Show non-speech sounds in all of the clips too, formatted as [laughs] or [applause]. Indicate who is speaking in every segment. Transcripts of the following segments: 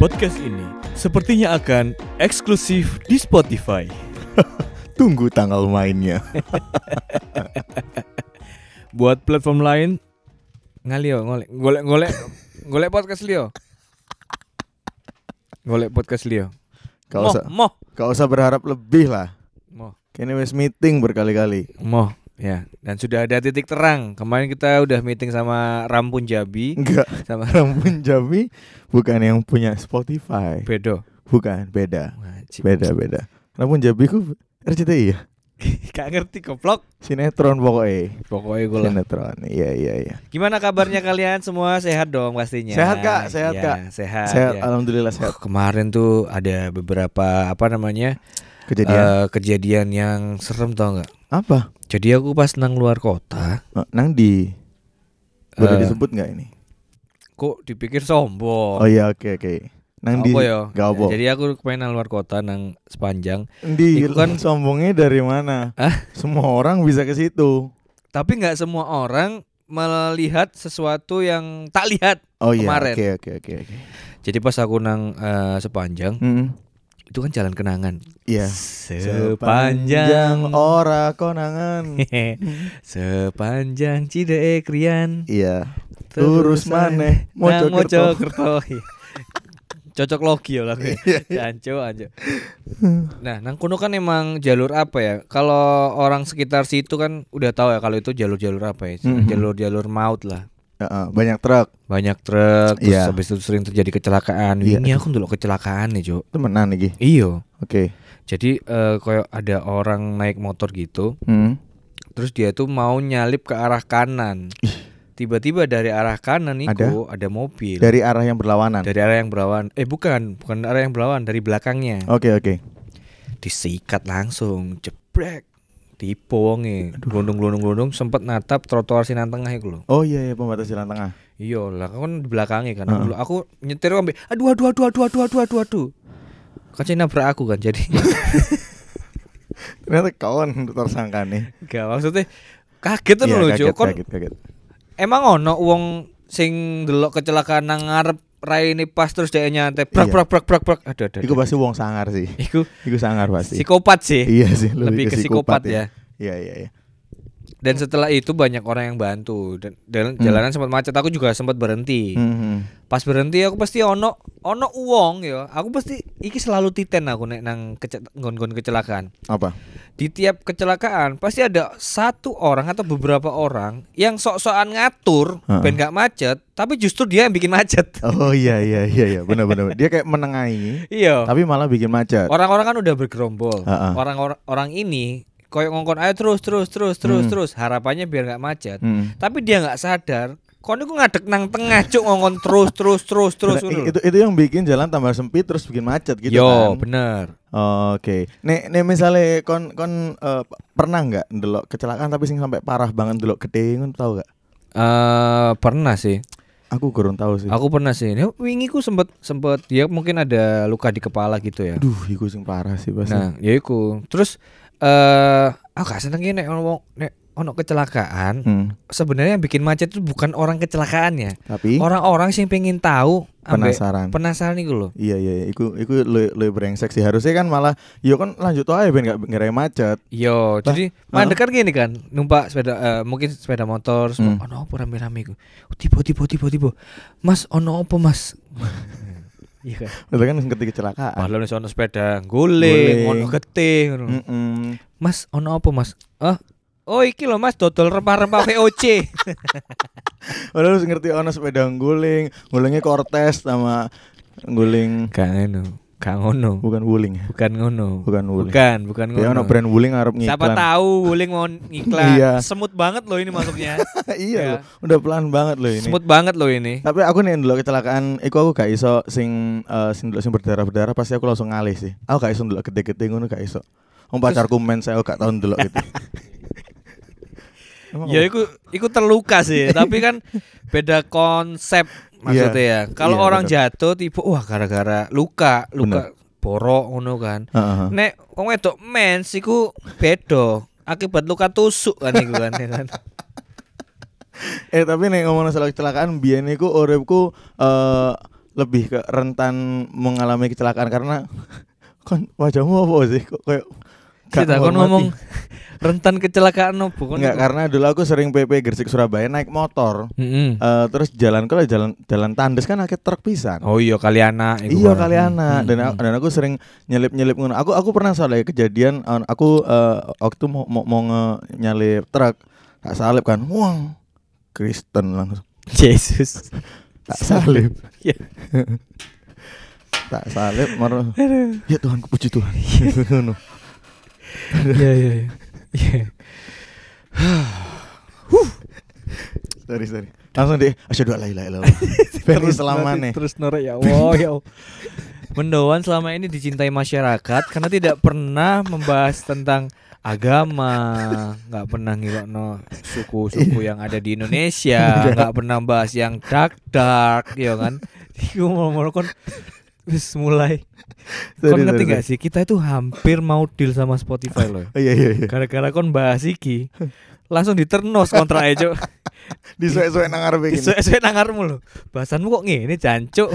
Speaker 1: Podcast ini sepertinya akan eksklusif di Spotify.
Speaker 2: Tunggu tanggal
Speaker 1: [laughs]
Speaker 2: mainnya.
Speaker 1: Buat platform lain, ngalio ngolek golek golek golek podcast Leo. Golek podcast Leo.
Speaker 2: Gak usah,
Speaker 1: moh,
Speaker 2: gak usah berharap lebih lah.
Speaker 1: moh,
Speaker 2: Kini wes meeting berkali-kali.
Speaker 1: moh. Ya, dan sudah ada titik terang. Kemarin kita udah meeting sama Rampun Jabi
Speaker 2: [laughs] Enggak,
Speaker 1: sama
Speaker 2: Rampun Jami bukan yang punya Spotify.
Speaker 1: Bedo.
Speaker 2: Bukan, beda.
Speaker 1: Wah, cip. [laughs]
Speaker 2: Beda, beda. Rampun Jami ku RCTI ya?
Speaker 1: Gak ngerti goblok.
Speaker 2: Sinetron pokoknya.
Speaker 1: Pokoknya gue lah.
Speaker 2: Sinetron. Iya, iya, iya.
Speaker 1: Gimana kabarnya kalian semua? Sehat dong pastinya.
Speaker 2: Sehat, Kak. Sehat,
Speaker 1: Ya,
Speaker 2: Kak.
Speaker 1: Sehat.
Speaker 2: Sehat,
Speaker 1: ya.
Speaker 2: alhamdulillah
Speaker 1: Wah,
Speaker 2: sehat.
Speaker 1: kemarin tuh ada beberapa apa namanya
Speaker 2: Kejadian
Speaker 1: eh, kejadian yang serem tau nggak?
Speaker 2: apa?
Speaker 1: Jadi aku pas nang luar kota,
Speaker 2: Eh, Nang di boleh
Speaker 1: Eh,
Speaker 2: disebut nggak ini?
Speaker 1: kok dipikir
Speaker 2: Oh
Speaker 1: sombong.
Speaker 2: iya, oke, oke. Nang di
Speaker 1: Apa ya?
Speaker 2: Gak apa.
Speaker 1: Jadi aku main nang luar kota nang sepanjang,
Speaker 2: Di
Speaker 1: Iku kan-
Speaker 2: sombongnya dari mana?
Speaker 1: Ah?
Speaker 2: Semua orang bisa ke situ.
Speaker 1: tapi nggak semua orang melihat sesuatu yang tak lihat.
Speaker 2: Oh iya,
Speaker 1: Kemarin.
Speaker 2: oke oke oke oke.
Speaker 1: Jadi pas aku nang eh, sepanjang,
Speaker 2: Mm-mm.
Speaker 1: itu kan jalan kenangan.
Speaker 2: Iya.
Speaker 1: Sepanjang
Speaker 2: ora konangan.
Speaker 1: [laughs] sepanjang Cideuk Rian.
Speaker 2: iya. Terus maneh
Speaker 1: Nang
Speaker 2: Mojokerto. [laughs]
Speaker 1: Mojokerto. Nah, Iya. Cocok logi ya
Speaker 2: Iya,
Speaker 1: lagu. Anco anco. Nah, nang kuno kan emang jalur apa ya? Kalau orang sekitar situ kan udah tahu ya kalau itu jalur-jalur apa ya?
Speaker 2: Mhm.
Speaker 1: Jalur-jalur maut lah.
Speaker 2: Heeh, banyak truk
Speaker 1: Banyak truk terus
Speaker 2: Iya.
Speaker 1: habis itu sering terjadi kecelakaan.
Speaker 2: Iya.
Speaker 1: Ini aku ndelok kecelakaan nih, Cuk.
Speaker 2: temenan iki.
Speaker 1: Iya.
Speaker 2: Oke.
Speaker 1: Jadi eh kayak ada orang naik motor gitu,
Speaker 2: Hmm.
Speaker 1: terus dia tuh mau nyalip ke arah kanan. Tiba-tiba dari arah kanan itu ada, mobil.
Speaker 2: Dari arah yang berlawanan.
Speaker 1: dari arah yang berlawan eh bukan bukan arah yang berlawan dari belakangnya
Speaker 2: Oke oke.
Speaker 1: disikat langsung jebrek tipe wonge glundung glundung glundung sempat natap trotoar sinan tengah itu loh
Speaker 2: Oh iya iya pembatas jalan tengah.
Speaker 1: iya lah aku kan di belakangnya kan Aku- aku nyetir aku ambil aduh aduh aduh aduh aduh aduh aduh aduh Kacanya nabrak aku kan jadi [laughs]
Speaker 2: Ternyata kawan tersangka nih.
Speaker 1: gak maksudnya kaget tuh
Speaker 2: Iya,
Speaker 1: loh
Speaker 2: kaget,
Speaker 1: Cuk. Kon-
Speaker 2: kaget kaget.
Speaker 1: emang ono wong sing delok kecelakaan nang ngarep rai ini pas terus dia nyantai brak
Speaker 2: Iya.
Speaker 1: brak brak brak brak aduh aduh
Speaker 2: Iku
Speaker 1: aduh.
Speaker 2: pasti wong sangar
Speaker 1: [laughs]
Speaker 2: sih.
Speaker 1: iku
Speaker 2: Iku sangar pasti.
Speaker 1: psikopat sih
Speaker 2: Iya sih,
Speaker 1: lebih ke psikopat ya.
Speaker 2: Iya iya iya.
Speaker 1: Dan
Speaker 2: Hmm.
Speaker 1: setelah itu banyak orang yang bantu dan dan jalanan sempat macet. Aku juga sempat berhenti.
Speaker 2: Hmm,
Speaker 1: Pas berhenti aku pasti ono ono uang ya. Aku pasti iki selalu titen aku nek nang kece, nggon-nggon kecelakaan.
Speaker 2: Apa?
Speaker 1: Di tiap kecelakaan pasti ada satu orang atau beberapa orang yang sok-sokan ngatur
Speaker 2: Heeh.
Speaker 1: ben gak macet, tapi justru dia yang bikin macet. [laughs]
Speaker 2: Oh iya iya iya iya benar benar. Dia kayak menengahi
Speaker 1: iya.
Speaker 2: tapi malah bikin macet.
Speaker 1: Orang-orang kan udah bergerombol.
Speaker 2: Heeh.
Speaker 1: Orang-orang orang ini koyok ngongkon ayo terus terus terus terus terus harapannya biar gak macet.
Speaker 2: Hmm.
Speaker 1: tapi dia nggak sadar kon iku ngadek nang tengah cuk ngongkon terus terus terus terus
Speaker 2: Nah,
Speaker 1: ngono
Speaker 2: i-
Speaker 1: lho.
Speaker 2: itu itu yang bikin jalan tambah sempit terus bikin macet gitu
Speaker 1: yo
Speaker 2: kan.
Speaker 1: bener
Speaker 2: Oke. Nek nek misale kon kon eh, p- pernah nggak ndelok kecelakaan tapi sing sampai parah banget ndelok gede ngono tau gak?
Speaker 1: Eh pernah sih
Speaker 2: Aku kurang tahu sih.
Speaker 1: aku pernah sih ini wingi ku sempet sempet ya mungkin ada luka di kepala gitu ya
Speaker 2: Aduh, iku sing parah sih pasti.
Speaker 1: nah ya iku terus eh aku gak seneng ya nek ono wong- nek ono kecelakaan
Speaker 2: Hmm.
Speaker 1: sebenarnya yang bikin macet itu bukan orang kecelakaannya
Speaker 2: Tapi
Speaker 1: orang-orang sih pengen tahu ambek
Speaker 2: penasaran.
Speaker 1: penasaran nih loh
Speaker 2: Iya iya, iya. iku iku lu lu brengsek sih harusnya kan malah yo kan lanjut tuh aja ben gak ngerai macet.
Speaker 1: Yo,
Speaker 2: Bah,
Speaker 1: jadi mandek kan gini kan, numpak sepeda eh, mungkin sepeda motor, semua
Speaker 2: Hmm.
Speaker 1: ono apa rame-rame iku. "Oh, Tiba tiba tiba tiba. Mas ono apa
Speaker 2: [laughs]
Speaker 1: Mas? Iya kan.
Speaker 2: Itu kan ngerti kecelakaan.
Speaker 1: Padahal wis ono sepeda guling,
Speaker 2: Guling.
Speaker 1: ono getih ngono.
Speaker 2: Hmm. Mm-mm.
Speaker 1: Mas ono apa Mas? Ah, oh iki loh Mas dodol rempah-rempah
Speaker 2: [laughs]
Speaker 1: VOC.
Speaker 2: Padahal harus ngerti ono sepeda guling, gulingnya Cortez sama guling
Speaker 1: Gak ngono. Gak ngono.
Speaker 2: bukan wuling ya.
Speaker 1: Bukan ngono.
Speaker 2: Bukan wuling.
Speaker 1: Bukan, bukan
Speaker 2: Ya ono
Speaker 1: Kan ngono.
Speaker 2: brand wuling arep ngiklan.
Speaker 1: Siapa tahu guling mau ngiklan.
Speaker 2: Iya.
Speaker 1: Semut banget loh ini masuknya.
Speaker 2: [laughs] iya
Speaker 1: Ya.
Speaker 2: loh, udah pelan banget loh [laughs] ini.
Speaker 1: Semut banget loh ini.
Speaker 2: Tapi aku nih ndelok kecelakaan, iku aku gak iso sing eh, sing ndelok sing berdarah-berdarah pasti aku langsung ngalih sih. Aku gak iso ndelok gede-gede ngono gak iso. Om pacarku men saya gak tau ndelok
Speaker 1: [laughs]
Speaker 2: gitu. Emang
Speaker 1: Ya
Speaker 2: apa?
Speaker 1: iku iku terluka
Speaker 2: [laughs]
Speaker 1: sih, tapi kan beda konsep maksudnya ya. Kalau
Speaker 2: Iya,
Speaker 1: orang
Speaker 2: bener.
Speaker 1: jatuh tipe wah gara-gara luka, luka borok ngono kan.
Speaker 2: Heeh.
Speaker 1: Nek wong wedok mens iku beda. Akibat luka tusuk kan iku kan ya kan.
Speaker 2: Eh tapi nih ngomong soal kecelakaan biyen iku uripku eh lebih ke rentan mengalami kecelakaan karena [laughs] kon wajahmu apa sih kok kayak [laughs] gak
Speaker 1: Kita kon
Speaker 2: menghormati.
Speaker 1: ngomong rentan kecelakaan opo Kan kon.
Speaker 2: Enggak, karena dulu aku sering PP Gresik Surabaya naik motor.
Speaker 1: Mm-mm.
Speaker 2: Eh, terus jalan kalau jalan jalan tandes kan akhirnya truk pisan.
Speaker 1: Oh iya kali anak iku
Speaker 2: Iya
Speaker 1: barang.
Speaker 2: kali anak
Speaker 1: Hmm,
Speaker 2: dan
Speaker 1: hmm, [laughs]
Speaker 2: aku, dan aku sering nyelip nyelip ngono. Aku aku pernah soalnya kejadian eh, aku eh, waktu mau mau, mau nge- nyelip truk tak salip kan, wah Kristen langsung
Speaker 1: hmm. Yesus.
Speaker 2: tak salip,
Speaker 1: Ya.
Speaker 2: tak salip marah. Ya Tuhan puji
Speaker 1: [laughs]
Speaker 2: Tuhan. [laughs] Ngono.
Speaker 1: [laughs] Iya iya iya. Iya.
Speaker 2: sorry sorry. Langsung di asyhadu an la ilaha
Speaker 1: [laughs]
Speaker 2: illallah. Ben selamane.
Speaker 1: nanti Terus norek ya Allah ya Allah. [laughs] Mendoan selama ini dicintai masyarakat karena tidak pernah membahas tentang agama, nggak pernah ngilokno suku-suku
Speaker 2: Iya.
Speaker 1: yang ada di
Speaker 2: [laughs]
Speaker 1: Indonesia, nggak pernah bahas yang dark dark, ya kan? Iku mau kon wis mulai. Kon
Speaker 2: Sorry,
Speaker 1: ngerti
Speaker 2: sorry,
Speaker 1: nggak sih? Kita itu hampir mau deal sama Spotify loh.
Speaker 2: sorry. [laughs] Iya iya iya.
Speaker 1: Gara-gara kon bahas iki, langsung diternos kontrak
Speaker 2: [laughs]
Speaker 1: aja. Iya.
Speaker 2: Disuwe-suwe nang arepe gini.
Speaker 1: Esok-esok nangarmu loh. Bahasanmu kok ngene, jancuk.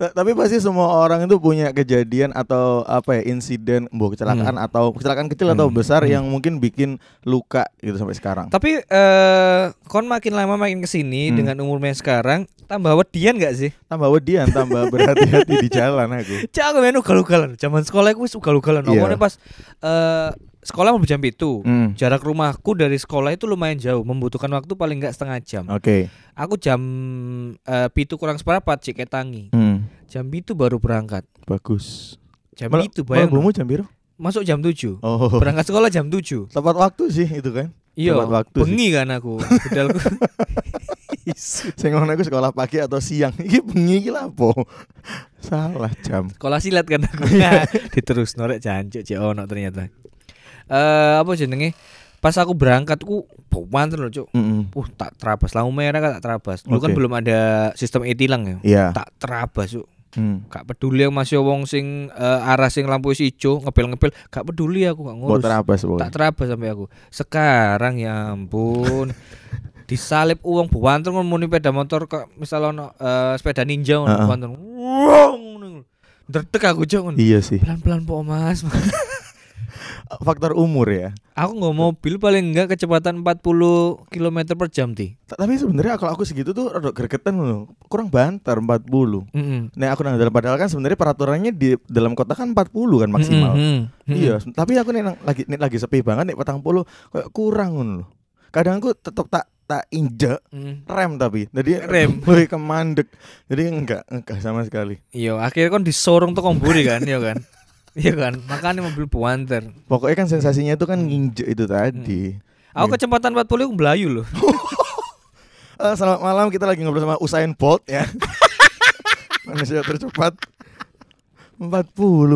Speaker 2: Ta- Tapi pasti semua orang itu punya kejadian atau apa ya insiden, bu kecelakaan atau kecelakaan kecil atau
Speaker 1: Hmm.
Speaker 2: besar
Speaker 1: Hmm.
Speaker 2: yang mungkin bikin luka gitu sampai sekarang.
Speaker 1: Tapi eh kon makin lama makin kesini
Speaker 2: Hmm.
Speaker 1: dengan umurnya wedyan tambah wedian gak sih?
Speaker 2: Tambah wedian,
Speaker 1: [laughs]
Speaker 2: tambah berhati-hati di jalan aku.
Speaker 1: Cak aku main ugal-ugalan. Zaman sekolah aku wis ugal-ugalan.
Speaker 2: Iya.
Speaker 1: Omongnya pas eh sekolah mau jam itu.
Speaker 2: Hmm.
Speaker 1: Jarak rumahku dari sekolah itu lumayan jauh, membutuhkan waktu paling nggak setengah jam.
Speaker 2: Oke.
Speaker 1: Aku jam eh, pitu kurang seperempat ciketangi.
Speaker 2: Hmm.
Speaker 1: Jam itu baru berangkat.
Speaker 2: Bagus.
Speaker 1: Jam
Speaker 2: Mel-
Speaker 1: itu bayang.
Speaker 2: melebumu jam biru?
Speaker 1: Masuk jam 7.
Speaker 2: Oh.
Speaker 1: Berangkat sekolah jam 7.
Speaker 2: Tepat waktu sih itu kan.
Speaker 1: Iya,
Speaker 2: Tepat waktu sih.
Speaker 1: bengi kan aku.
Speaker 2: [laughs]
Speaker 1: Bedalku. Isu.
Speaker 2: Sing ngono iku sekolah pagi atau siang. [laughs] Iki bengi iki lapo. Salah jam.
Speaker 1: sekolah silat kan aku [laughs] diterus norek jancuk cek ono ternyata eh apa jenenge pas aku berangkat ku pawan lho cuk
Speaker 2: Mm-mm.
Speaker 1: uh tak terabas lampu merah kan tak terabas dulu kan
Speaker 2: Oke.
Speaker 1: belum ada sistem e-tilang ya
Speaker 2: Iya.
Speaker 1: tak terabas cuk
Speaker 2: Hmm.
Speaker 1: gak peduli yang masih wong sing eh, arah sing lampu isi ijo ngepel-ngepel gak peduli aku gak ngurus
Speaker 2: Buat terabas
Speaker 1: tak
Speaker 2: pokoknya.
Speaker 1: terabas sampai aku sekarang ya
Speaker 2: [laughs]
Speaker 1: ampun disalip uang buan terus muni sepeda motor kok misal ono eh, sepeda ninja ngono
Speaker 2: Heeh.
Speaker 1: buan terus wong ngono. Dredeg aku cok ngono.
Speaker 2: Iya sih.
Speaker 1: pelan-pelan po mas [laughs]
Speaker 2: Faktor umur ya.
Speaker 1: aku nggak mobil paling enggak kecepatan 40 km per jam ti
Speaker 2: Ta- Tapi sebenarnya kalau aku segitu tuh rada gregetan loh. Kurang banter 40. Nah, aku nang dalam padahal kan sebenarnya peraturannya di dalam kota kan 40 kan maksimal. Iya, se- tapi aku nih nang- lagi nih lagi sepi banget nih 40 kayak kurang ngono loh. Kadang aku tetep tak tak injek rem tapi. Jadi
Speaker 1: Rem.
Speaker 2: [laughs] woi kemandek. Jadi enggak enggak sama sekali.
Speaker 1: iya akhirnya kan disorong tuh komburi kan iya
Speaker 2: [laughs]
Speaker 1: kan iya kan makanya mobil buanter
Speaker 2: Pokoknya kan sensasinya itu kan nginjek itu tadi. Iya.
Speaker 1: aku kecepatan 40 aku belayu loh
Speaker 2: Eh, selamat malam, kita lagi ngobrol sama Usain Bolt
Speaker 1: [laughs]
Speaker 2: ya. Manusia tercepat 40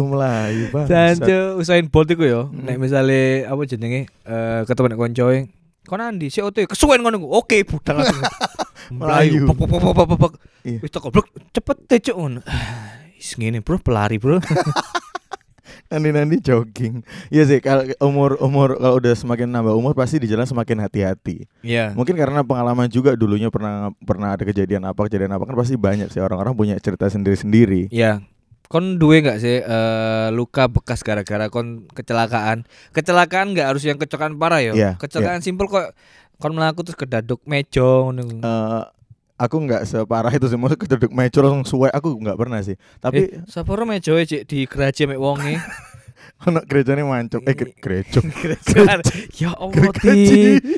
Speaker 2: Melayu, Bang.
Speaker 1: dan usain bolt iku yo
Speaker 2: Mm.
Speaker 1: nek misale apa jenenge eh ketemu nek konco kon andi sik ote kesuwen ngono iku. oke budal
Speaker 2: [laughs]
Speaker 1: aku melayu
Speaker 2: Melayu.
Speaker 1: pok pok pok pok, pok pok
Speaker 2: Iya.
Speaker 1: wis tak goblok cepet te cuk ngono [sighs] Is ngene bro pelari
Speaker 2: [laughs]
Speaker 1: bro
Speaker 2: Nanti-nanti jogging. Iya sih, kalau umur umur kalau udah semakin nambah umur pasti di jalan semakin hati-hati.
Speaker 1: Iya.
Speaker 2: Mungkin karena pengalaman juga dulunya pernah pernah ada kejadian apa kejadian apa kan pasti banyak sih orang-orang punya cerita sendiri-sendiri.
Speaker 1: Iya. Kon duwe nggak sih eh, luka bekas gara-gara kon kecelakaan? Kecelakaan nggak harus yang kecelakaan parah ya.
Speaker 2: Iya,
Speaker 1: kecelakaan simpel kok kon melaku terus kedaduk meja ngono.
Speaker 2: Eh, aku nggak separah itu sih, maksudnya keduduk mecur langsung suwe aku nggak pernah sih.
Speaker 1: eh,
Speaker 2: Tapi
Speaker 1: sapa ro meja cek di geraji mek wonge.
Speaker 2: [laughs] anak gerejanya mancuk, eh ge-
Speaker 1: [laughs]
Speaker 2: gerejok. [laughs]
Speaker 1: ya Allah
Speaker 2: Gergaji.
Speaker 1: ti.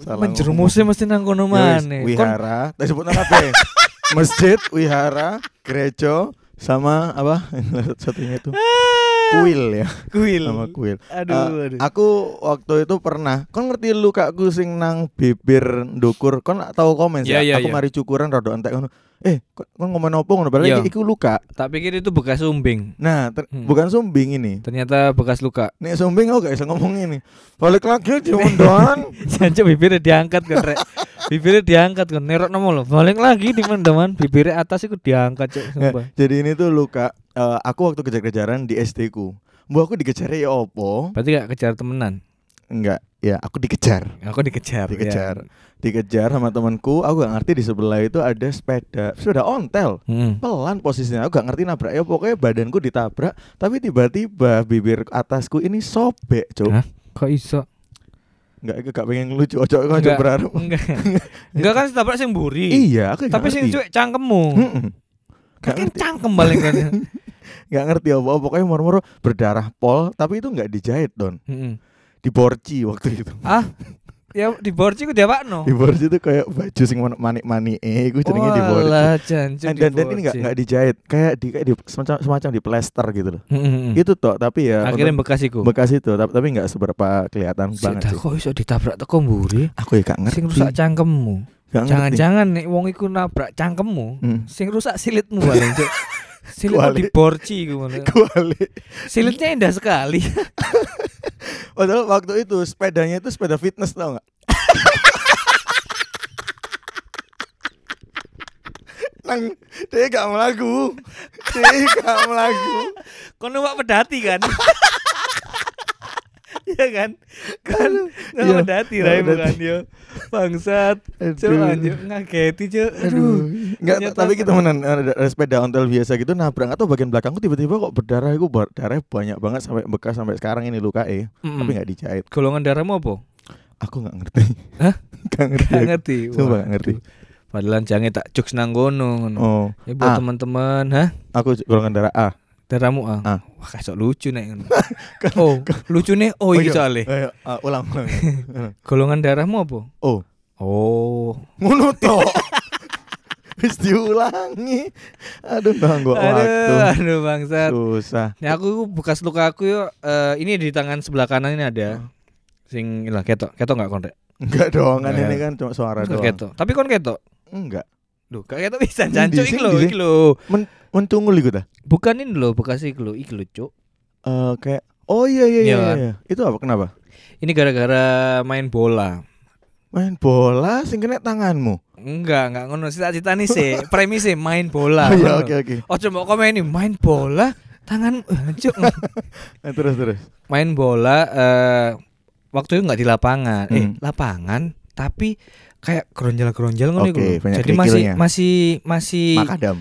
Speaker 2: Salah
Speaker 1: Menjerumusnya mesti nang kono
Speaker 2: Yowis,
Speaker 1: maneh. Kon
Speaker 2: Wihara, tadi sebut nama
Speaker 1: [laughs]
Speaker 2: apa? ya? Masjid, wihara, gerejo, sama apa? [laughs] Satunya itu kuil ya,
Speaker 1: kuil.
Speaker 2: nama kuil.
Speaker 1: Aduh,
Speaker 2: Eh,
Speaker 1: aduh.
Speaker 2: Aku waktu itu pernah, kon ngerti lukaku sing nang bibir ndukur, kon tahu komen sih.
Speaker 1: Iya, iya,
Speaker 2: aku
Speaker 1: iya.
Speaker 2: mari cukuran rada entek ngono. Eh, kon kon ngomong opo ngono? Padahal
Speaker 1: Iya.
Speaker 2: iki- iku luka.
Speaker 1: Tak pikir itu bekas sumbing.
Speaker 2: Nah, ter-
Speaker 1: Hmm.
Speaker 2: bukan sumbing ini.
Speaker 1: Ternyata bekas luka. [laughs]
Speaker 2: Nek sumbing aku gak bisa ngomong ini. Balik lagi di mondoan.
Speaker 1: Jancuk bibirnya diangkat kan rek. Bibirnya diangkat kan nerok nemu lo. Balik lagi di mendaman bibirnya atas itu diangkat cuk
Speaker 2: Eh.
Speaker 1: sumpah.
Speaker 2: Jadi ini tuh luka eh, aku waktu kejar-kejaran di SD ku. Bu aku dikejar ya opo?
Speaker 1: Berarti gak kejar temenan.
Speaker 2: Enggak. ya aku dikejar
Speaker 1: Aku dikejar. ya.
Speaker 2: dikejar dikejar sama temanku aku gak ngerti di sebelah itu ada sepeda sepeda ontel
Speaker 1: Mm-mm.
Speaker 2: pelan posisinya aku gak ngerti nabrak ya pokoknya badanku ditabrak tapi tiba-tiba bibir atasku ini sobek cok
Speaker 1: Hah? Kok iso?
Speaker 2: nggak gak pengen lucu ojo ojo
Speaker 1: Nggak.
Speaker 2: berharap [laughs]
Speaker 1: Enggak. Enggak kan setabrak sing mburi.
Speaker 2: iya aku nggak
Speaker 1: Tapi sing cuek
Speaker 2: ngerti.
Speaker 1: cangkemmu.
Speaker 2: Mm-mm.
Speaker 1: Kan
Speaker 2: Nggak
Speaker 1: kan
Speaker 2: ngerti.
Speaker 1: cangkem paling
Speaker 2: [laughs]
Speaker 1: kan.
Speaker 2: nggak ngerti apa pokoknya moro-moro berdarah pol tapi itu nggak dijahit don
Speaker 1: Mm-mm.
Speaker 2: diborci waktu itu
Speaker 1: Ah. Ya di borci ku diapakno.
Speaker 2: diborci itu kayak baju sing manik-manik eh gue jadinya diborci
Speaker 1: Walah, jancuk
Speaker 2: dan,
Speaker 1: di
Speaker 2: dan, dan ini nggak
Speaker 1: borci.
Speaker 2: nggak dijahit kayak di kayak di semacam semacam di plester gitu loh
Speaker 1: Mm-mm.
Speaker 2: itu toh tapi ya
Speaker 1: Hmm. Akhirnya
Speaker 2: untuk
Speaker 1: bekas iku.
Speaker 2: bekas itu tapi tapi nggak seberapa kelihatan banget
Speaker 1: Sita
Speaker 2: sih
Speaker 1: kok iso ditabrak teko mburi?
Speaker 2: aku ya gak ngerti
Speaker 1: Sing rusak cangkemmu.
Speaker 2: gak ngerti
Speaker 1: Jangan-jangan nek wong iku nabrak cangkemmu,
Speaker 2: Hmm.
Speaker 1: sing rusak silitmu paling cuk.
Speaker 2: [laughs]
Speaker 1: Silit di
Speaker 2: Kuali.
Speaker 1: borci iku. Mas.
Speaker 2: Kuali.
Speaker 1: Silitnya indah sekali. [laughs]
Speaker 2: Padahal waktu itu sepedanya itu sepeda fitness tau gak? [laughs] Nang, dia gak melaku Dia gak melaku
Speaker 1: Kono wak pedati kan?
Speaker 2: [laughs]
Speaker 1: Iya kan? Kan
Speaker 2: Iya,
Speaker 1: nggak pedati
Speaker 2: nggak
Speaker 1: Rai
Speaker 2: pedati.
Speaker 1: bukan yo. Bangsat. Cuk
Speaker 2: Aduh.
Speaker 1: anjir ngageti cuk. Aduh.
Speaker 2: Aduh, enggak
Speaker 1: ternyata-
Speaker 2: tapi kita menan ada, ada sepeda ontel biasa gitu nabrak atau bagian belakangku tiba-tiba kok berdarah, aku berdarah banyak banget sampai bekas sampai sekarang ini luka eh, tapi
Speaker 1: Mm-mm.
Speaker 2: nggak dijahit.
Speaker 1: Golongan darahmu apa?
Speaker 2: Aku nggak ngerti. [laughs]
Speaker 1: Hah?
Speaker 2: Nggak ngerti.
Speaker 1: Gak
Speaker 2: aku.
Speaker 1: ngerti.
Speaker 2: Sumpah nggak ngerti.
Speaker 1: Padahal jange tak jokes nang kono ngono.
Speaker 2: Oh,
Speaker 1: Ya buat
Speaker 2: Ah.
Speaker 1: teman-teman, ha?
Speaker 2: aku golongan darah A.
Speaker 1: Darahmu ah.
Speaker 2: Ah.
Speaker 1: Wah, kayak lucu nek
Speaker 2: [laughs]
Speaker 1: ngono. Oh, lucu nih oh iki
Speaker 2: iya.
Speaker 1: soalnya.
Speaker 2: Ayo, ah, ulang ulang.
Speaker 1: Golongan darahmu apa?
Speaker 2: oh,
Speaker 1: Oh.
Speaker 2: Ngono
Speaker 1: [laughs]
Speaker 2: tok. Wis diulangi. Aduh nganggo waktu.
Speaker 1: Aduh, aduh bangsat.
Speaker 2: Susah.
Speaker 1: Nah aku bekas luka aku yo eh, ini di tangan sebelah kanan ini
Speaker 2: Ah.
Speaker 1: ada sing lah ketok ketok nggak kon rek
Speaker 2: Enggak dong, kan
Speaker 1: Iya.
Speaker 2: ini kan cuma suara
Speaker 1: Nggak
Speaker 2: doang.
Speaker 1: ketok tapi kon ketok
Speaker 2: Enggak.
Speaker 1: Duh, gak ketok bisa
Speaker 2: Ini
Speaker 1: jancuk
Speaker 2: di
Speaker 1: iki
Speaker 2: sini,
Speaker 1: lho,
Speaker 2: di sini.
Speaker 1: iki lho.
Speaker 2: Mencungul iku dah.
Speaker 1: Bukan ini lho, bekas iki lho, iki lho, Cuk.
Speaker 2: Eh kayak Oh iya
Speaker 1: Iya
Speaker 2: iya iya.
Speaker 1: kan?
Speaker 2: iya. Itu apa kenapa?
Speaker 1: Ini gara-gara main bola.
Speaker 2: Main bola sing kena tanganmu.
Speaker 1: Enggak, enggak ngono. Cita-cita nih sih, premise main bola.
Speaker 2: Oh, [laughs] iya
Speaker 1: ngono.
Speaker 2: oke oke.
Speaker 1: Oh, coba komen ini main bola, tangan
Speaker 2: [laughs]
Speaker 1: jancuk.
Speaker 2: Eh, terus terus.
Speaker 1: main bola eh waktu itu nggak di lapangan eh
Speaker 2: Hmm.
Speaker 1: lapangan tapi kayak geronjal-geronjal ngono
Speaker 2: Oke,
Speaker 1: iku lho.
Speaker 2: banyak
Speaker 1: jadi masih
Speaker 2: kerikilnya.
Speaker 1: masih masih
Speaker 2: Makadam.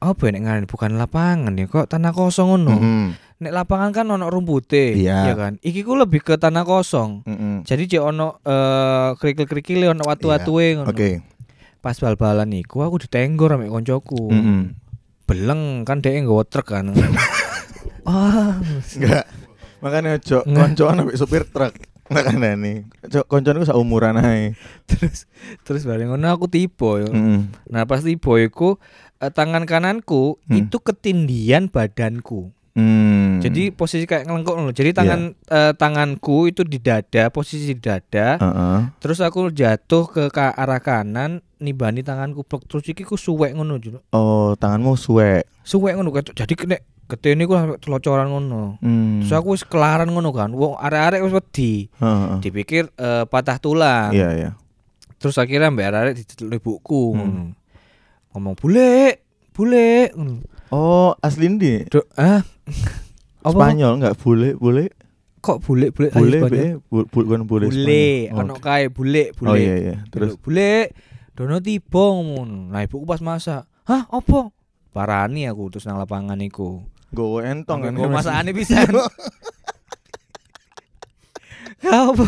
Speaker 1: apa ya nek ngaran bukan lapangan ya kok tanah kosong ngono
Speaker 2: Heeh.
Speaker 1: nek lapangan kan ono rumpute
Speaker 2: Hmm. Iya.
Speaker 1: ya kan iki ku lebih ke tanah kosong
Speaker 2: Heeh.
Speaker 1: jadi cek ono eh, kerikil-kerikil ono watu-watue ngono
Speaker 2: Iya. Oke.
Speaker 1: pas bal-balan iku aku ditenggor sama koncoku
Speaker 2: Heeh.
Speaker 1: beleng kan dhek nggawa truk
Speaker 2: [laughs]
Speaker 1: kan Wah,
Speaker 2: Ah. Enggak. Makanya ojo
Speaker 1: Nggak.
Speaker 2: koncoan ambek supir truk. Makanya nih. Koncoanku seumuran ae.
Speaker 1: terus terus bareng ngono aku tipe yo.
Speaker 2: Heeh.
Speaker 1: Nah pas tiba iku eh, tangan kananku
Speaker 2: Hmm.
Speaker 1: itu ketindian badanku.
Speaker 2: Hmm. Iya.
Speaker 1: Jadi posisi kayak ngelengkung loh. Jadi tangan eh, tanganku itu di dada, posisi di dada.
Speaker 2: Heeh.
Speaker 1: Terus aku jatuh ke, ka- arah kanan, nibani tanganku blok terus iki ku suwek ngono juga.
Speaker 2: Oh, tanganmu suwe.
Speaker 1: Suwek ngono kayak jadi kena gede ini ku sampe telocoran ngono.
Speaker 2: Hmm.
Speaker 1: Terus aku wis kelaran ngono kan. Wong arek-arek wis wedi.
Speaker 2: Heeh.
Speaker 1: Dipikir eh, patah tulang.
Speaker 2: Iya, iya.
Speaker 1: Terus akhirnya mbak arek dicetel ibuku.
Speaker 2: Hmm.
Speaker 1: ngono. Ngomong bule, bule. ngono.
Speaker 2: Oh, asli ini di
Speaker 1: Do, ah.
Speaker 2: [laughs]
Speaker 1: Apa?
Speaker 2: Spanyol enggak bule, bule,
Speaker 1: Kok bulik-bulik aja
Speaker 2: bule,
Speaker 1: Spanyol?
Speaker 2: be- bu- bu- bukan Iya, bule.
Speaker 1: Bule,
Speaker 2: Spanyol.
Speaker 1: ono kae bulik,
Speaker 2: Oh, oh iya
Speaker 1: bulik.
Speaker 2: iya. Terus
Speaker 1: bulik. Dono tiba ngono. Nah, ibuku pas masak. Hah, apa? Parani aku terus nang lapangan iku.
Speaker 2: gowo entong kan.
Speaker 1: Nggo masakane
Speaker 2: [laughs]
Speaker 1: pisan. Ya apa?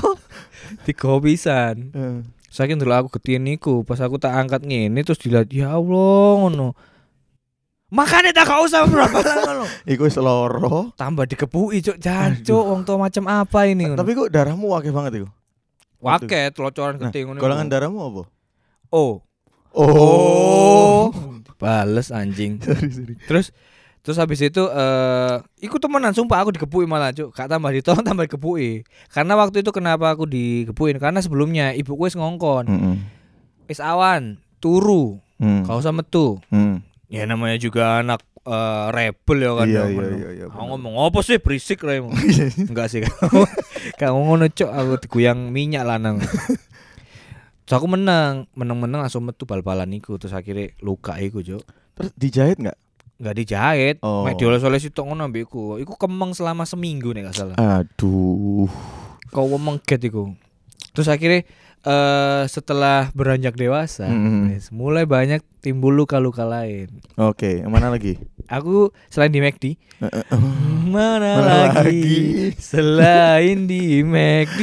Speaker 1: Tiga pisan.
Speaker 2: Heeh.
Speaker 1: Saking dulu aku gede niku, pas aku tak angkat ngene terus dilihat, ya Allah ngono. Makane tak kau usah berapa
Speaker 2: [laughs]
Speaker 1: ngono.
Speaker 2: Iku wis loro.
Speaker 1: Tambah dikepui cuk jancuk wong tua macam apa ini ngono.
Speaker 2: Tapi kok darahmu akeh banget iku.
Speaker 1: Wake telocoran gede ngono.
Speaker 2: Golongan darahmu apa?
Speaker 1: Oh.
Speaker 2: [laughs] Oh.
Speaker 1: Bales anjing.
Speaker 2: Sorry, sorry.
Speaker 1: terus terus habis itu eh ikut temenan sumpah aku dikepui malah cuk. Kak tambah ditolong [laughs] tambah dikepui. Karena waktu itu kenapa aku dikepuin? Karena sebelumnya ibuku wis ngongkon.
Speaker 2: Heeh. Hmm.
Speaker 1: Wis awan, turu,
Speaker 2: Heeh.
Speaker 1: kau sama metu. Ya namanya juga anak eh, rebel ya kan. ya,
Speaker 2: Iya, iya,
Speaker 1: ngono.
Speaker 2: iya, iya,
Speaker 1: Aku
Speaker 2: bener.
Speaker 1: ngomong apa sih berisik lah
Speaker 2: [laughs]
Speaker 1: emang. Enggak [laughs] sih kamu. kamu ngono cok aku diguyang minyak
Speaker 2: [laughs]
Speaker 1: lanang. Terus aku menang, menang-menang langsung metu bal-balan iku terus akhirnya luka iku cok.
Speaker 2: Terus dijahit enggak?
Speaker 1: Enggak dijahit,
Speaker 2: Oh. Ah.
Speaker 1: mek dioles-oles itu ngono ambek iku. Iku kemeng selama seminggu nek gak salah.
Speaker 2: Aduh.
Speaker 1: kau mengget iku. Terus akhirnya eh setelah beranjak dewasa,
Speaker 2: Mm-mm.
Speaker 1: wis mulai banyak timbul luka-luka lain.
Speaker 2: Oke, yang mana lagi?
Speaker 1: Aku selain di McD,
Speaker 2: Eh, eh, eh.
Speaker 1: mana,
Speaker 2: Mana
Speaker 1: lagi,
Speaker 2: lagi?
Speaker 1: selain di McD?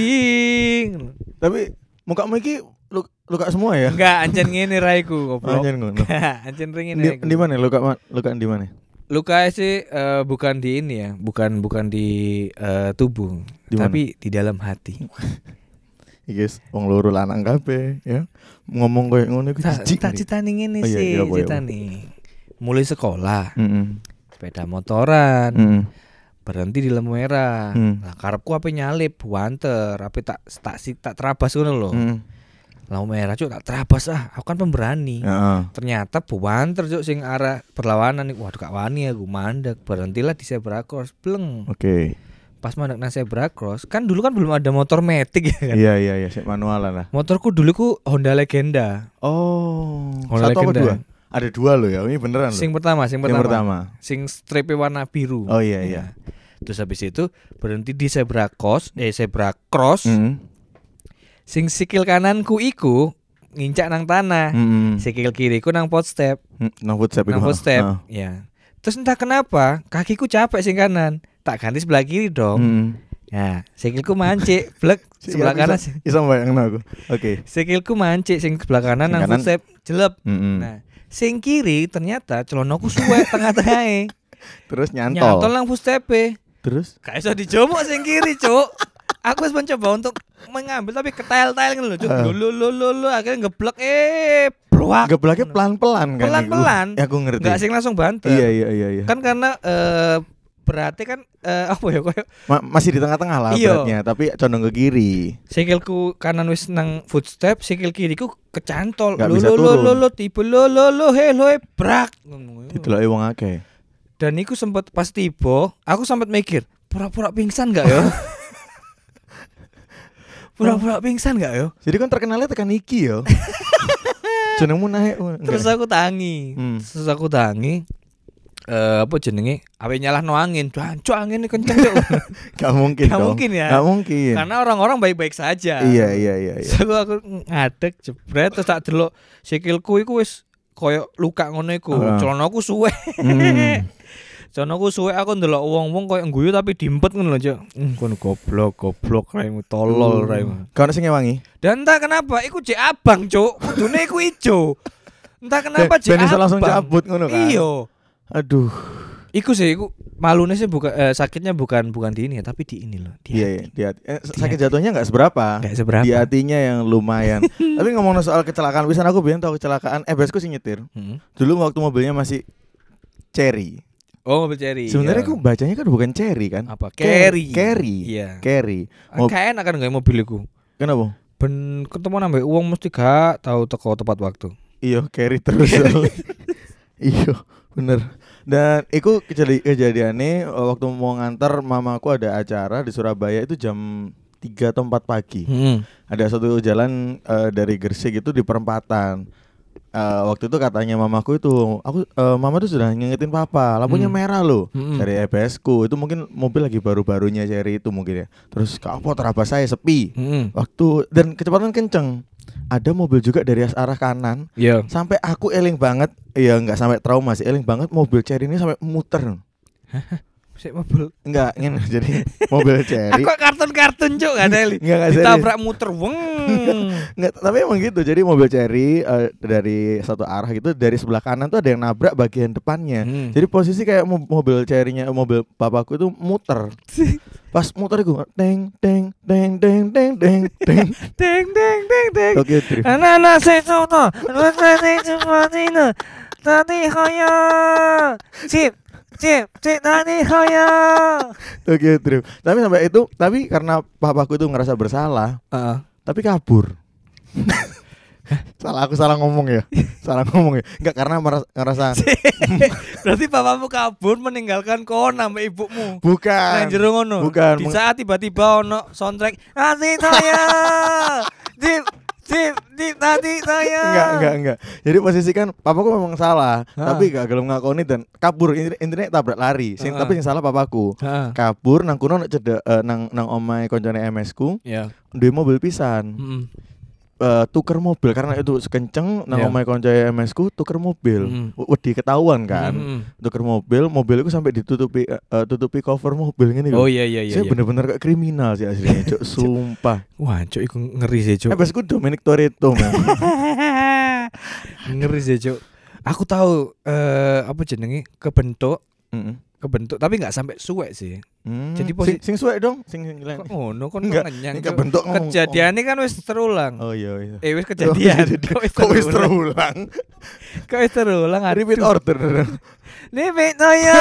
Speaker 2: Tapi muka Miki lu- luka semua ya?
Speaker 1: Enggak, ancen ngene raiku goblok.
Speaker 2: Anjir, ngono.
Speaker 1: [laughs] ancen ring ini.
Speaker 2: Di, di mana luka ma- luka di mana?
Speaker 1: Luka sih eh, bukan di ini ya, bukan bukan di eh, tubuh,
Speaker 2: Di mana?
Speaker 1: tapi di dalam hati.
Speaker 2: Iki wis wong loro lanang kabeh ya. Ngomong koyo ngono iku
Speaker 1: Tak
Speaker 2: jijik.
Speaker 1: tak citani ngene
Speaker 2: Oh, iya,
Speaker 1: sih,
Speaker 2: iya, apa, iya, apa.
Speaker 1: citani. Mulai sekolah,
Speaker 2: Heeh.
Speaker 1: sepeda motoran,
Speaker 2: Heeh.
Speaker 1: berhenti di lampu merah.
Speaker 2: Hmm.
Speaker 1: Lah karepku apa nyalip, wanter, apa tak tak si- tak terabas ngono loh.
Speaker 2: Heeh.
Speaker 1: Lampu merah cuk tak terabas ah, aku kan pemberani.
Speaker 2: Heeh.
Speaker 1: Ternyata buanter cuk sing arah perlawanan nih. Waduh kak wani aku mandek. Berhentilah di zebra cross, bleng.
Speaker 2: Oke.
Speaker 1: Pas mandek nang zebra cross, kan dulu kan belum ada motor matic ya kan.
Speaker 2: Iya iya iya, sik manualan lah.
Speaker 1: Motorku dulu ku Honda Legenda.
Speaker 2: Oh.
Speaker 1: Honda
Speaker 2: Satu apa
Speaker 1: Legenda.
Speaker 2: dua? Ada dua loh ya, ini beneran loh.
Speaker 1: Sing pertama, sing
Speaker 2: yang
Speaker 1: pertama.
Speaker 2: pertama.
Speaker 1: Sing stripnya warna biru. Nah.
Speaker 2: Oh iya iya.
Speaker 1: Terus habis itu berhenti di zebra cross, eh zebra cross.
Speaker 2: Heeh.
Speaker 1: Sing sikil kananku iku ngincak nang tanah.
Speaker 2: Heeh.
Speaker 1: Sikil kiriku nang pot step,
Speaker 2: Nang footstep
Speaker 1: nang
Speaker 2: iku.
Speaker 1: pot step.
Speaker 2: Heeh.
Speaker 1: Ya. Terus entah kenapa kakiku capek sing kanan. Tak ganti sebelah kiri dong.
Speaker 2: Heeh.
Speaker 1: Nah, sikilku mancik,
Speaker 2: [laughs]
Speaker 1: blek Oh. sebelah kanan.
Speaker 2: Iya, Bisa- Bisa bayangno aku. Oke.
Speaker 1: Sikilku mancik sing sebelah kanan
Speaker 2: Sing
Speaker 1: nang
Speaker 2: kanan. Hmm.
Speaker 1: pot step, jelep.
Speaker 2: Heeh.
Speaker 1: Nah, sing kiri ternyata celonoku
Speaker 2: [laughs]
Speaker 1: suwe tengah-tengah.
Speaker 2: Terus nyantol.
Speaker 1: Nyantol nang footstep.
Speaker 2: Terus
Speaker 1: Gak iso dijomok sing kiri, Cuk. Aku wis mencoba untuk mengambil tapi ketel-tel ngono lho, Cuk.
Speaker 2: Eh.
Speaker 1: Lulu lulu lulu akhirnya ngeblek eh bluak.
Speaker 2: geblaknya pelan-pelan kan.
Speaker 1: Pelan-pelan.
Speaker 2: iku. [laughs] Ya aku ngerti.
Speaker 1: Enggak sing langsung banter.
Speaker 2: Iya iya iya iya.
Speaker 1: Kan karena eh berarti kan eh apa ya koyo
Speaker 2: Ma- masih di tengah-tengah lah
Speaker 1: Iya. Hmm.
Speaker 2: beratnya, tapi condong ke kiri.
Speaker 1: sikilku kanan wis nang footstep, sikil kiriku kecantol.
Speaker 2: Nggak
Speaker 1: Lulu
Speaker 2: bisa
Speaker 1: lulu
Speaker 2: turun.
Speaker 1: lulu tipe lulu lulu he lho, he, brak.
Speaker 2: Ditelok wong akeh.
Speaker 1: Dan iku sempet pas tiba, aku sempet mikir, pura-pura pingsan gak
Speaker 2: [laughs]
Speaker 1: ya? pura-pura pingsan gak ya?
Speaker 2: Jadi kan terkenalnya tekan iki
Speaker 1: [laughs]
Speaker 2: yo. Jenengmu naik. oh, enggak.
Speaker 1: Terus aku tangi.
Speaker 2: Hmm.
Speaker 1: Terus aku tangi. Eh apa jenenge? Apa nyalah no angin? Jancuk angin ini kenceng
Speaker 2: [laughs]
Speaker 1: Cuk.
Speaker 2: Gak mungkin
Speaker 1: Gak
Speaker 2: dong.
Speaker 1: mungkin ya.
Speaker 2: Gak mungkin.
Speaker 1: Karena orang-orang baik-baik saja.
Speaker 2: Iya iya iya iya.
Speaker 1: Terus aku, aku ngadeg jebret terus tak delok sikilku iku wis koyo luka ngono iku.
Speaker 2: Ah.
Speaker 1: Celonoku suwe.
Speaker 2: Hmm.
Speaker 1: Celonoku suwe aku ndelok wong-wong koyo ngguyu tapi dimpet ngono lho, Cuk. Hmm, kono goblok, goblok raimu tolol raimu.
Speaker 2: Kau nasi ngewangi?
Speaker 1: Hmm. Dan entah kenapa iku jek abang, Cuk. Kudune iku ijo. Entah kenapa
Speaker 2: Ben-
Speaker 1: jek
Speaker 2: ben iso
Speaker 1: abang.
Speaker 2: langsung cabut ngono kan?
Speaker 1: Iya.
Speaker 2: Aduh.
Speaker 1: Iku sih, iku malunya sih bukan eh, sakitnya bukan bukan di ini ya, tapi di ini loh. Di
Speaker 2: Iya iya. Di hati. Eh, sakit jatuhnya nggak seberapa.
Speaker 1: Gak seberapa.
Speaker 2: Di hatinya yang [laughs] lumayan. tapi ngomong soal kecelakaan, bisa aku bilang tau kecelakaan. Eh besku sih nyetir.
Speaker 1: Hmm.
Speaker 2: Dulu waktu mobilnya masih Cherry.
Speaker 1: Oh, mobil cherry.
Speaker 2: Sebenarnya
Speaker 1: iya.
Speaker 2: aku bacanya kan bukan Cherry kan?
Speaker 1: apa?
Speaker 2: Carry.
Speaker 1: Carry.
Speaker 2: Carry.
Speaker 1: Iya.
Speaker 2: Carry.
Speaker 1: Ah,
Speaker 2: Mob-
Speaker 1: Kayak enak kan nggak mobiliku.
Speaker 2: Kenapa?
Speaker 1: Ben ketemu nambah uang mesti gak tahu teko tepat waktu.
Speaker 2: Iya, carry terus. [laughs] iya, bener. Dan itu kejadi kejadiannya eh, waktu mau nganter mamaku ada acara di Surabaya itu jam 3 atau 4 pagi.
Speaker 1: Hmm.
Speaker 2: Ada satu jalan eh, dari Gresik itu di perempatan. Eh, waktu itu katanya mamaku itu aku eh, mama tuh sudah ngingetin papa lampunya
Speaker 1: Hmm.
Speaker 2: merah loh
Speaker 1: Mm-mm.
Speaker 2: dari EBS ku itu mungkin mobil lagi baru-barunya cari itu mungkin ya terus kapot terabas saya sepi
Speaker 1: Hmm.
Speaker 2: waktu dan kecepatan kenceng ada mobil juga dari arah kanan
Speaker 1: Iya.
Speaker 2: sampai aku eling banget ya nggak sampai trauma sih eling banget mobil cherry ini sampai muter
Speaker 1: Sik mobil.
Speaker 2: nggak ngene [laughs] jadi mobil
Speaker 1: Aku
Speaker 2: cherry
Speaker 1: Ah, kartun-kartun cuk gak ada
Speaker 2: nggak nggak serius.
Speaker 1: Ditabrak muter weng. [laughs]
Speaker 2: Nggak, tapi emang gitu jadi mobil cherry eh, dari satu arah gitu dari sebelah kanan tuh ada yang nabrak bagian depannya
Speaker 1: Hmm.
Speaker 2: jadi posisi kayak mo- mobil cherrynya mobil bapakku itu
Speaker 1: [laughs]
Speaker 2: muter pas muter gue teng teng teng teng teng teng
Speaker 1: [laughs]
Speaker 2: teng
Speaker 1: Deng deng deng deng.
Speaker 2: Tokyo Drift
Speaker 1: Anak-anak saya contoh, anak saya seperti ini. Tadi hanya chip, chip, chip tadi hanya.
Speaker 2: Tokyo Drift tapi sampai itu tapi karena papaku itu ngerasa bersalah tapi kabur. [laughs] salah aku salah ngomong
Speaker 1: [laughs]
Speaker 2: ya, salah ngomong ya. Enggak karena meras- ngerasa
Speaker 1: [laughs] Berarti papamu kabur meninggalkan kau nama ibumu.
Speaker 2: bukan.
Speaker 1: Nang jero ngono.
Speaker 2: Bukan.
Speaker 1: Di
Speaker 2: meng- [laughs]
Speaker 1: saat tiba-tiba ono soundtrack nanti saya chip Cip, cip, nanti saya.
Speaker 2: Enggak, enggak, enggak. Jadi posisi kan papaku memang salah,
Speaker 1: Ah.
Speaker 2: tapi gak gelem ngakoni dan kabur Inti- intinya tabrak lari. Sing
Speaker 1: Heeh.
Speaker 2: tapi yang salah papaku.
Speaker 1: Heeh.
Speaker 2: Kabur nang kuno nang cedek eh, nang nang omahe koncone MS ku
Speaker 1: Ya.
Speaker 2: duwe mobil pisan.
Speaker 1: Mm-mm.
Speaker 2: Eh, tuker mobil karena itu sekenceng nang
Speaker 1: Iya.
Speaker 2: omahe koncone MS ku tuker mobil.
Speaker 1: Mm.
Speaker 2: W- Wedi ketahuan kan.
Speaker 1: Mm-mm.
Speaker 2: Tuker mobil, mobil itu sampai ditutupi eh, eh, tutupi cover mobil ngene lho.
Speaker 1: Oh iya iya iya.
Speaker 2: Saya
Speaker 1: iya.
Speaker 2: bener-bener kayak kriminal sih [laughs] aslinya, Cuk. Sumpah.
Speaker 1: Wah, cuk iku ngeri sih, cuk.
Speaker 2: Eh, pas ku Dominic Toretto, [laughs] man.
Speaker 1: [laughs] ngeri sih, cuk. Aku tahu eh apa jenenge kebentuk
Speaker 2: Mm-mm.
Speaker 1: kebentuk tapi nggak sampai suwek sih
Speaker 2: Hmm.
Speaker 1: Jadi
Speaker 2: Jadi
Speaker 1: posi-
Speaker 2: sing, sing suwek dong, sing sing lain.
Speaker 1: kok ngono kon
Speaker 2: Nggak,
Speaker 1: ngenyang
Speaker 2: ini
Speaker 1: cuk.
Speaker 2: kebentuk ngomong-
Speaker 1: kejadiannya kan wis terulang
Speaker 2: Oh iya iya.
Speaker 1: eh wis kejadian
Speaker 2: Kok wis- kok wis terulang?
Speaker 1: kok wis terulang aduh.
Speaker 2: Repeat order.
Speaker 1: Limit
Speaker 2: [laughs]
Speaker 1: saya.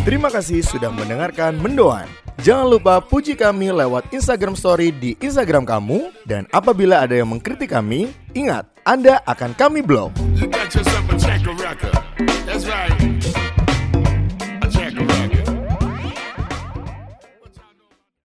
Speaker 3: Terima kasih sudah mendengarkan Mendoan. Jangan lupa puji kami lewat Instagram Story di Instagram kamu. Dan apabila ada yang mengkritik kami, ingat, Anda akan kami blok.
Speaker 4: You got yourself a checker record. That's right.